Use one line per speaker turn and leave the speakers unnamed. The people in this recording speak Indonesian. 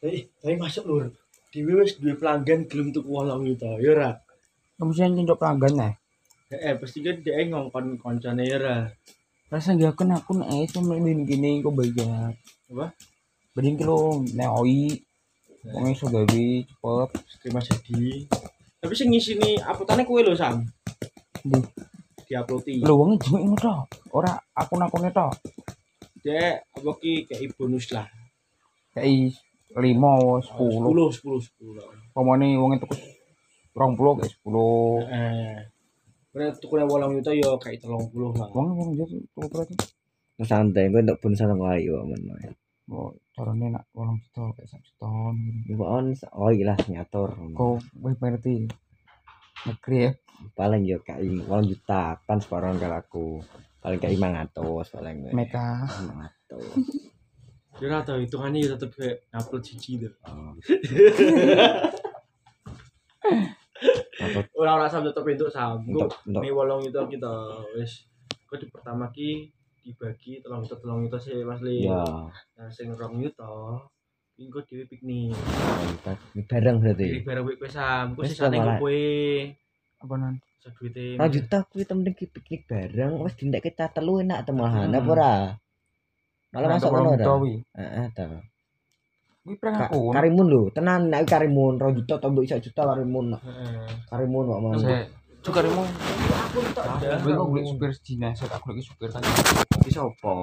Tapi, tapi masuk lur. Dewi wis duwe pelanggan gelem tuku wolong juta, ya ora.
Kamu sih yang pelanggan ya?
Eh, pasti kan dia ngongkon koncone ya ora.
Rasa gak kena aku nih, cuma mending gini kok bayar.
Apa?
Mending kilo neoi,
Ya.
pokoknya iso gawe cepet.
Terima jadi. Tapi sing ngisini uploadane kowe lho, Sam.
Duh,
Diuploadi.
lu uangnya cuma ini toh, ora akun akunnya toh.
Dek, apa ki kayak bonus lah.
Kayak lima, sepuluh.
10 10 10.
Pemoni uangnya tuh rong puluh, kayak sepuluh.
Heeh. Ora tukune 8 juta ya kayak 30 lah.
Uangnya uang jadi tuh berarti.
santai gue untuk pun sana wae kok men
Wah, caranya nak uang juta, kayak satu gitu. tahun.
Ibu on oh lah nyatur
Kau baik ngerti. Negeri ya.
paling yo kai walang juta kan separuh kalau aku paling kai mangatus paling gue
Meka.
mangatus
Ya ora tau hitungane ya tetep kayak upload siji lho.
oh.
Ora ora Sam tetep entuk Sam. Engko
untuk untuk
Ini wolong itu kita wis kok di pertama ki dibagi telung itu telung itu sih mas li
ya
nah sing rong itu ingko dewi piknik
kita ini bareng berarti
jadi bareng wik pesam kok
Wis,
sisane
lah, malah.
kowe
Apa nan?
seduite
Nah, juta aku kita mending ki- piknik bareng wes dindak kita telu enak temu hana apa ora malah
Nah,
masuk
kalau
ngono
juta,
ora
wi.
heeh ta
Wi prank
Ka-
aku.
karimun lho tenan nek karimun 2 juta tambah isak juta karimun
Heeh.
karimun kok mau
Saya juga mau.
aku tak ada
Gue kok beli supir Cina, saya tak lagi supir tadi.
iso apa